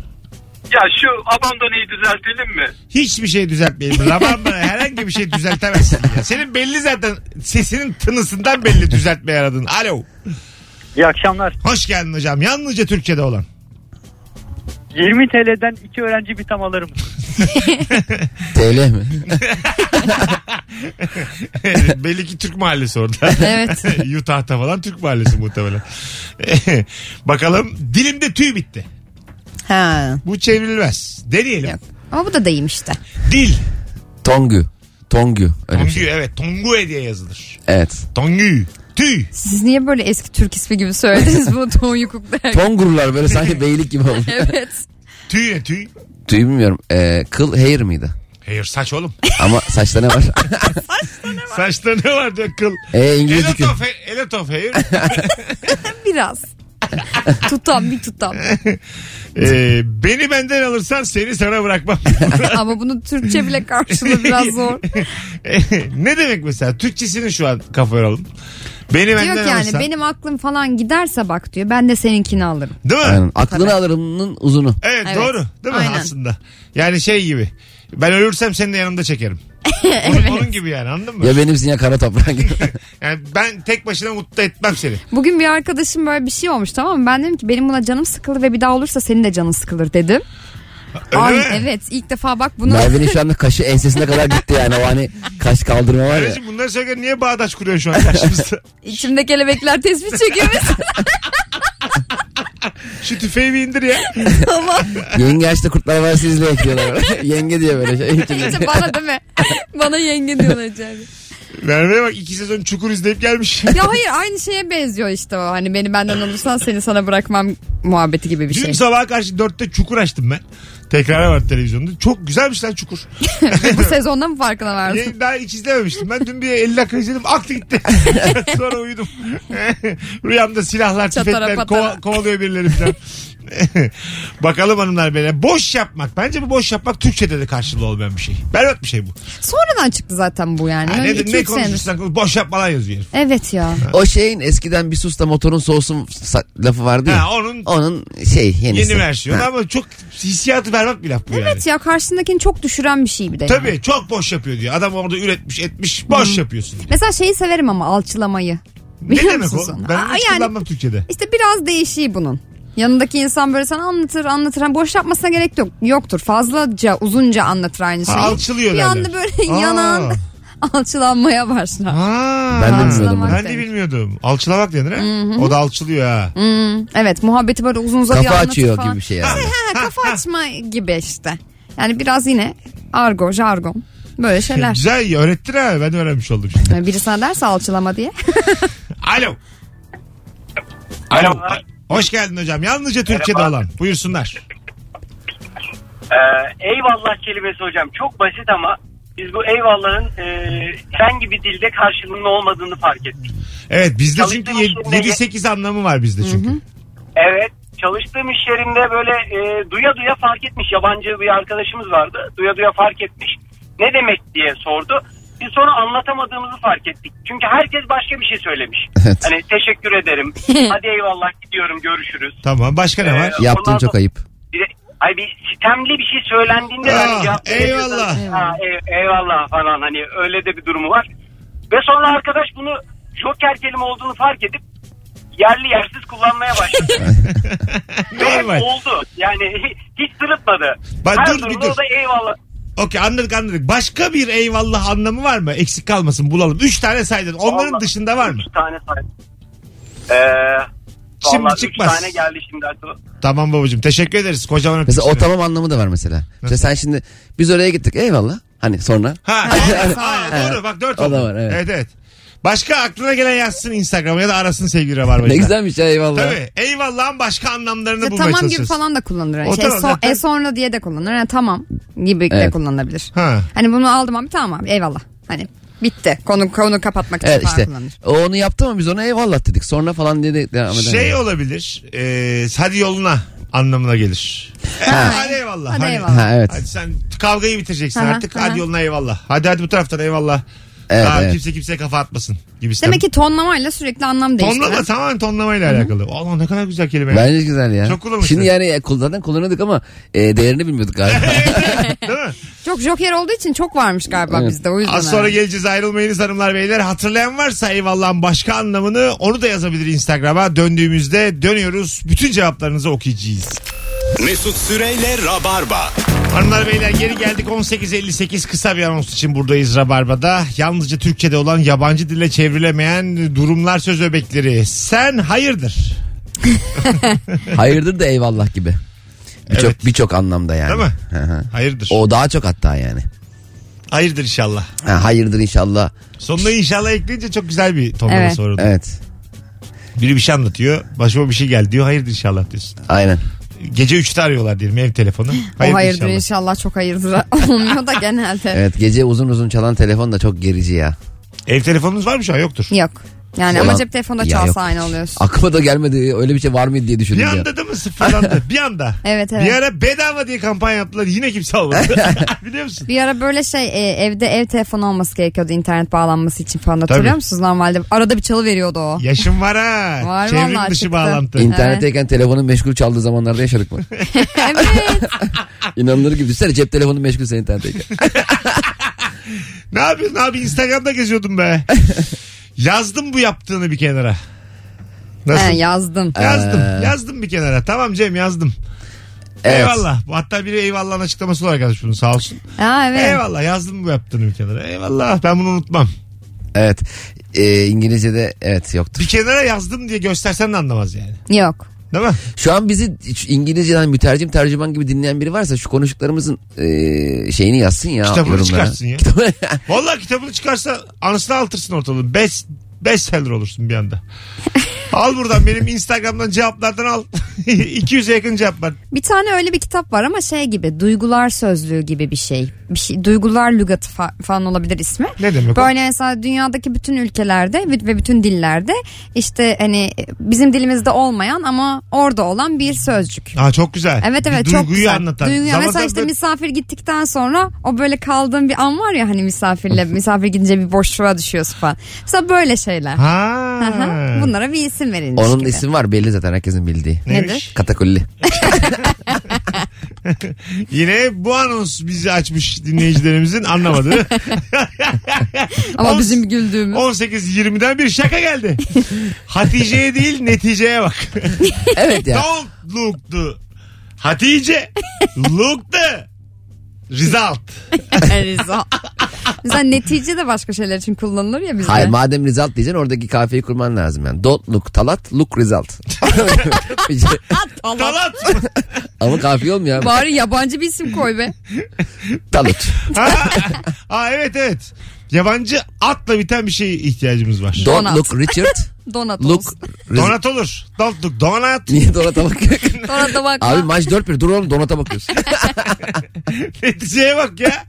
G: Ya şu abandoneyi düzeltelim mi?
B: Hiçbir şey düzeltmeyelim. Rabarba'da herhangi bir şey düzeltemezsin. ya. Senin belli zaten sesinin tınısından belli düzeltmeye aradın. Alo.
F: İyi akşamlar.
B: Hoş geldin hocam. Yalnızca Türkçe'de olan.
F: 20 TL'den iki öğrenci bir tam alırım.
D: TL mi?
B: belli ki Türk mahallesi orada.
C: Evet.
B: Utah'ta falan Türk mahallesi muhtemelen. Bakalım dilimde tüy bitti.
C: Ha.
B: Bu çevrilmez. Deneyelim.
C: Yok. Ama bu da deyim işte.
B: Dil.
D: Tongu. Tongu. Öyle bir
B: Tongu
D: şey.
B: evet. Tongue diye yazılır.
D: Evet.
B: Tongu. Tüy.
C: Siz niye böyle eski Türk ismi gibi söylediniz bu Tom Yukuk derken?
D: Tongurlar böyle sanki beylik gibi olmuş.
C: Evet.
B: Tüy ne tüy?
D: Tüy bilmiyorum. Ee, kıl hair miydi?
B: Hayır saç oğlum.
D: Ama saçta ne var?
B: Saçta ne var diyor kıl.
D: Ee, İngilizce
B: Elot
D: kıl.
B: of, elot of hair.
C: Biraz. tutam bir tutam.
B: Ee, beni benden alırsan seni sana bırakmam.
C: Ama bunu Türkçe bile karşılığı biraz zor.
B: ne demek mesela? Türkçesini şu an kafaya alalım. Beni benden
C: diyor ki yani
B: alırsan.
C: benim aklım falan giderse bak diyor ben de seninkini alırım.
B: Değil mi?
D: Aynen. Aklını alırımın uzunu.
B: Evet,
C: Evet.
B: doğru değil mi
C: Aynen.
B: aslında? Yani şey gibi ben ölürsem seni de yanımda çekerim. Onun, onun gibi yani anladın mı?
D: Ya benimsin ya kara toprağın gibi.
B: Yani ben tek başına mutlu etmem seni.
C: Bugün bir arkadaşım böyle bir şey olmuş tamam mı? Ben dedim ki benim buna canım sıkılır ve bir daha olursa senin de canın sıkılır dedim.
B: Öyle
C: Ay
B: mi?
C: evet ilk defa bak bunu
D: Merve'nin şu anda kaşı ensesine kadar gitti yani. O hani kaş kaldırma var ya.
B: Kardeşim bunları söylerken niye bağdaş kuruyor şu an karşımızda?
C: içimde kelebekler tespih çekiyoruz.
B: Şu tüfeği bir indir ya.
C: tamam.
D: Yenge yaşta kurtlar var siz bekliyorlar. Yenge diye böyle şey.
C: İşte bana değil mi? Bana yenge diyorlar içeride.
B: Merve'ye bak iki sezon çukur izleyip gelmiş.
C: Ya hayır aynı şeye benziyor işte o. Hani beni benden alırsan seni sana bırakmam muhabbeti gibi bir
B: Dün
C: şey.
B: sabaha karşı dörtte çukur açtım ben. Tekrara var televizyonda. Çok güzelmiş lan çukur.
C: Bu sezonda mı farkına vardın?
B: Yayın daha hiç izlememiştim. Ben dün bir 50 dakika izledim. Aktı gitti. Sonra uyudum. Rüyamda silahlar,
C: Çatara
B: tüfekler
C: patara.
B: kova- kovalıyor birileri falan. Bakalım hanımlar böyle. Boş yapmak. Bence bu boş yapmak Türkçe'de de karşılığı olmayan bir şey. Berbat bir şey bu.
C: Sonradan çıktı zaten bu yani.
B: Ha,
C: Öyle
B: ne,
C: iki,
B: ne
C: üç senedir.
B: konuşursan konuş, boş yapmalar yazıyor herif.
C: Evet ya.
D: O şeyin eskiden bir susta motorun soğusun sa- lafı vardı ya.
B: Ha, onun
D: Onun şey yenisi.
B: yeni versiyonu
D: Ha.
B: ama çok hissiyatı berbat bir laf bu yani.
C: Evet ya karşındakini çok düşüren bir şey bir de. yani.
B: Tabii çok boş yapıyor diyor. Adam orada üretmiş etmiş boş yapıyorsun. diyor.
C: Mesela şeyi severim ama alçılamayı.
B: Ne
C: Biliyor
B: demek
C: musun
B: o?
C: sen?
B: Ben
C: Aa,
B: hiç
C: yani-
B: kullanmam Türkçe'de.
C: İşte biraz değişiği bunun. Yanındaki insan böyle sana anlatır anlatır. Hani boş yapmasına gerek yok yoktur. Fazlaca uzunca anlatır aynı şeyi.
B: alçılıyor
C: Bir
B: derler.
C: anda böyle
B: Aa.
C: yanan alçılanmaya başlar.
B: Aa.
D: Ben de bilmiyordum.
C: Alçılamak
D: bunu.
B: Ben de
C: demek.
B: bilmiyordum. Alçılamak denir ha. O da alçılıyor ha.
C: Hmm, Evet muhabbeti böyle uzun uzadıya
D: Kafa
C: anlatır
D: açıyor
C: falan.
D: gibi bir şey yani.
C: Ha, kafa açma gibi işte. Yani biraz yine argo, jargon böyle şeyler.
B: Güzel iyi, öğrettin ha. Ben de öğrenmiş oldum şimdi.
C: Yani Biri sana derse alçılama diye.
B: Alo. Alo. Hoş geldin hocam. Yalnızca Türkçe'de olan. Buyursunlar.
I: Ee, eyvallah kelimesi hocam çok basit ama biz bu eyvallahın e, herhangi bir dilde karşılığının olmadığını fark ettik.
B: Evet bizde
I: Çalıştığım
B: çünkü
I: yerinde-
B: 7-8 anlamı var bizde çünkü.
I: Evet çalıştığım iş yerinde böyle e, duya duya fark etmiş yabancı bir arkadaşımız vardı. Duya duya fark etmiş ne demek diye sordu. Biz sonra anlatamadığımızı fark ettik. Çünkü herkes başka bir şey söylemiş.
D: Evet.
I: Hani teşekkür ederim. Hadi eyvallah gidiyorum görüşürüz.
B: Tamam başka ne var?
I: Ee,
D: Yaptığın
I: ondan
D: çok
I: sonra-
D: ayıp.
I: Bir, ay bir sitemli bir şey söylendiğinde
B: Ah,
I: hani cevap veremiyorsan,
B: eyvallah.
I: Ha, ey- eyvallah falan hani öyle de bir durumu var. Ve sonra arkadaş bunu joker kelime olduğunu fark edip yerli yersiz kullanmaya başladı. Ve
B: Normal.
I: oldu. Yani hiç sırıtmadı.
B: Bak
I: Her
B: dur, bir
I: durumda
B: dur.
I: o da eyvallah.
B: Okey anladık anladık. Başka bir eyvallah anlamı var mı? Eksik kalmasın bulalım. 3 tane saydın. Onların
I: Vallahi
B: dışında var mı?
I: Üç tane say- Ee,
B: Şimdi
I: vallahi üç
B: çıkmaz.
I: tane geldi şimdi aklıma.
B: Tamam babacığım teşekkür ederiz. Kocaman öptük
D: Mesela o
B: seni.
D: tamam anlamı da var mesela. İşte sen şimdi biz oraya gittik eyvallah. Hani sonra.
B: Ha, evet, ha, doğru bak 4
D: O da
B: oldu.
D: var, evet.
B: evet evet. Başka aklına gelen yazsın Instagram'a ya da arasın sevgili Rabarbacılar.
D: Ne güzelmiş ya eyvallah.
B: Tabii. Eyvallah'ın başka anlamlarını
C: İşte
B: bulmaya
C: tamam gibi
B: çalışıyoruz.
C: falan da kullanılır. Yani
B: O
C: şey,
B: tamam
C: so-
B: zaten.
C: e sonra diye de kullanılır. Yani tamam gibi de
D: Evet.
C: kullanılabilir.
B: Ha.
C: Hani bunu aldım abi tamam abi eyvallah. Hani bitti. Konu konu kapatmak için
D: Evet
C: falan
D: işte
C: kullanılır.
D: o onu yaptı ama biz ona eyvallah dedik. Sonra falan diye de devam eder.
B: Şey olabilir. E, hadi yoluna anlamına gelir. E,
C: Ha.
B: Hadi eyvallah.
C: Hadi
B: Hadi,
C: eyvallah.
D: Ha evet.
B: Hadi sen kavgayı bitireceksin
C: Aha,
B: artık.
C: aha.
B: Hadi yoluna eyvallah. Hadi hadi bu taraftan eyvallah.
D: Evet,
B: Daha
D: evet.
B: Kimse kimseye kafa atmasın gibisinden.
C: Demek ki tonlamayla sürekli anlam değiştiren.
B: Tonlama tamamen tonlamayla alakalı. Allah ne kadar güzel kelime. ya.
D: Bence güzel ya.
B: Çok kullanmıştı.
D: Şimdi yani e, kul- zaten kullanıyorduk ama e, değerini bilmiyorduk galiba.
B: Değil mi?
C: Çok joker olduğu için çok varmış galiba
D: Evet.
C: bizde o yüzden.
B: Az sonra
C: herhalde.
B: geleceğiz ayrılmayınız hanımlar beyler. Hatırlayan varsa eyvallahın başka anlamını onu da yazabilir Instagram'a. Döndüğümüzde dönüyoruz. Bütün cevaplarınızı okuyacağız.
A: Mesut Süreyle Rabarba.
B: Hanımlar beyler geri geldik 18.58 kısa bir anons için buradayız Rabarba'da. Yalnızca Türkçe'de olan yabancı dile çevrilemeyen durumlar söz öbekleri. Sen hayırdır
D: Hayırdır da eyvallah gibi. Birçok
B: Evet.
D: birçok anlamda yani.
B: değil mi?
D: Hı hı.
B: Hayırdır.
D: O daha çok hatta yani.
B: Hayırdır inşallah.
D: Ha, hayırdır inşallah.
B: Sonuna inşallah ekleyince çok güzel bir tonlama
C: Evet.
B: soruldu.
D: Evet.
B: Biri bir şey anlatıyor. Başıma bir şey geldi diyor. Hayırdır inşallah diyorsun.
D: Aynen.
B: Gece 3'te arıyorlar diyelim ev telefonu.
C: o
B: Hayırdır,
C: hayırdır
B: inşallah.
C: inşallah çok hayırdır olmuyor da genelde.
D: Evet gece uzun uzun çalan telefon da çok gerici ya.
B: Ev telefonunuz var mı şu an? Yoktur.
C: Yok. Yani ama
D: Ulan-
C: cep telefonda
D: Ya
C: çalsa
D: yok.
C: aynı oluyorsun.
D: Aklıma da gelmedi öyle bir şey var mıydı diye
B: Bir
D: düşündüm ya.
B: anda değil mi sıfırlandı? Bir anda.
C: Evet, evet.
B: Bir ara bedava diye kampanya yaptılar. Yine kimse almadı. Biliyor musun?
C: Bir ara böyle şey e, evde ev telefonu olması gerekiyordu internet bağlanması için falan
B: Tabii.
C: hatırlıyor musunuz normalde? Arada bir çalı veriyordu o.
B: Yaşım var ha.
C: Var
B: Çevrim
C: vallahi
B: dışı
C: çıktı.
B: bağlantı.
D: İnternetteyken telefonun meşgul çaldığı zamanlarda yaşadık mı?
C: evet.
D: İnanılır gibi. Düşünsene cep telefonu meşgul senin internetteyken.
B: Ne yapıyorsun abi? Instagram'da geziyordum be. Yazdım bu yaptığını bir kenara. Nasıl?
C: He, yazdım.
B: yazdım. Yazdım bir kenara. Tamam Cem yazdım.
D: Evet.
B: Eyvallah. Hatta biri eyvallahın açıklaması olarak yazmış bunu sağ olsun.
C: Ha, evet.
B: Eyvallah yazdım bu yaptığını bir kenara. Eyvallah ben bunu unutmam.
D: Evet. Ee, İngilizce'de evet yoktu.
B: Bir kenara yazdım diye göstersen de anlamaz yani.
C: Yok.
B: Değil mi?
D: Şu an bizi hiç İngilizceden mütercim tercüman gibi dinleyen biri varsa şu konuştuklarımızın eee, şeyini yazsın ya.
B: Kitabını
D: yorumlara.
B: çıkarsın ya.
D: Kitabı-
B: Vallahi kitabını çıkarsa anısını altırsın ortalığı. Best, bestseller olursun bir anda. al buradan benim Instagram'dan cevaplardan al. 200'e yakın cevap var.
C: Bir tane öyle bir kitap var ama şey gibi duygular sözlüğü gibi bir şey. Bir şey duygular lügatı fa- falan olabilir ismi.
B: Ne demek o?
C: Böyle mesela dünyadaki bütün ülkelerde ve bütün dillerde işte hani bizim dilimizde olmayan ama orada olan bir sözcük.
B: Aa, çok güzel.
C: Evet
B: Bir
C: evet
B: duyguyu
C: çok güzel.
B: anlatan.
C: Duyguyu-
B: Zaman
C: mesela
B: zaman
C: işte
B: böyle-
C: misafir gittikten sonra o böyle kaldığın bir an var ya hani misafirle misafir gidince bir boşluğa düşüyorsun falan. Mesela böyle şeyler.
B: Ha.
C: Aha, Bunlara bir isim verilmiş
D: Onun
C: gibi.
D: isim var belli zaten herkesin bildiği.
B: Neymiş?
D: Katakulli.
B: Yine bu anons bizi açmış dinleyicilerimizin anlamadığı.
C: Ama
B: On-
C: bizim güldüğümüz.
B: 18-20'den bir şaka geldi. Hatice'ye değil neticeye bak.
D: Evet ya.
B: Don't look the Hatice look the result.
C: Rıza. Mesela netice de başka şeyler için kullanılır ya bizde.
D: Hayır madem result diyeceksin oradaki kafeyi kurman lazım yani. Don't look talat look result.
B: Talat.
D: Ama kafiye olmuyor abi.
C: Bari yabancı bir isim koy be.
D: Talut.
B: ha, ha, evet evet. Yabancı atla biten bir şeye ihtiyacımız var.
D: Don't
C: Donat.
D: look Richard
C: Donat
D: look
C: olsun.
D: result.
B: donat olur. Don't look donat.
D: Niye donata bakıyorsun?
C: Donata bakma.
D: Abi maç 4-1 dur oğlum donata bakıyorsun.
B: Neticeye bak ya.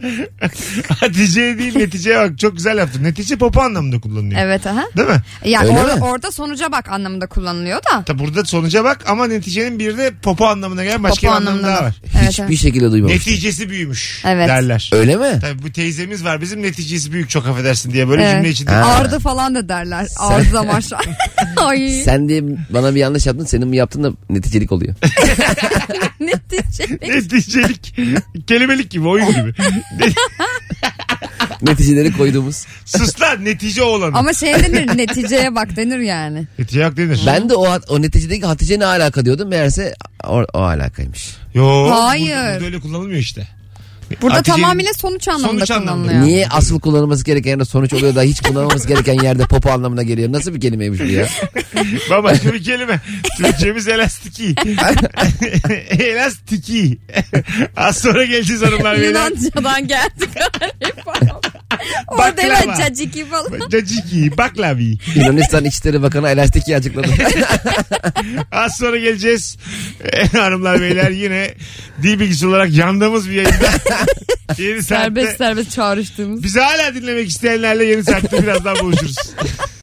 B: Hatice'ye değil neticeye bak. Çok güzel yaptın. Netice popo anlamında kullanılıyor.
C: Evet aha.
B: Değil mi?
C: Yani
D: Öyle
C: or-
D: mi?
C: orada sonuca bak anlamında kullanılıyor da.
B: Tabi burada sonuca bak ama neticenin bir de popo anlamına gelen başka
C: Popo
B: bir anlamı
C: anlamında
B: daha
C: da.
B: var.
C: Evet,
D: Hiçbir
C: evet.
D: şekilde duymamıştım.
B: Neticesi büyümüş
C: Evet.
B: derler.
D: Öyle mi?
B: Tabii bu teyzemiz var bizim neticesi büyük çok affedersin diye böyle
C: Evet.
B: cümle içinde.
D: şey- Ha.
C: Ardı falan da derler. Ardı amaçlı. Ay
D: Sen diye bana bir yanlış yaptın senin bu yaptığın da neticelik oluyor.
C: netice.
B: Neticelik. Kelimelik gibi oyun gibi.
D: Neticeleri koyduğumuz.
B: Sus lan netice oğlanı.
C: Ama şey denir neticeye bak denir yani.
B: Netice yok denir.
D: Ben de o, hat- o neticedeki Hatice ne alaka diyordum. Meğerse o, o alakaymış.
B: Yo,
C: Hayır.
B: Burada, burada öyle kullanılmıyor işte.
C: Burada
B: Hatice'nin-
C: tamamıyla sonuç anlamında
B: Sonuç anlamında.
C: kullanılıyor.
D: Niye asıl kullanılması gereken yerde sonuç oluyor da hiç kullanılması gereken yerde popo anlamına geliyor. Nasıl bir kelimeymiş bu ya?
B: Bambaşka bir kelime. Türkçemiz elastiki. elastiki. Az sonra geleceğiz hanımlar. beyler.
C: Yunanca'dan geldik. Orada
B: Baklava.
C: hemen caciki falan.
B: Caciki, baklavi.
D: Yunanistan İçişleri Bakanı elastiki açıkladı.
B: Az sonra geleceğiz. Eh, hanımlar beyler yine dil bilgisi olarak yandığımız bir yayında. Yeni saatte.
C: serbest serbest çağrıştığımız.
B: Bizi hala dinlemek isteyenlerle yeni saatte birazdan buluşuruz.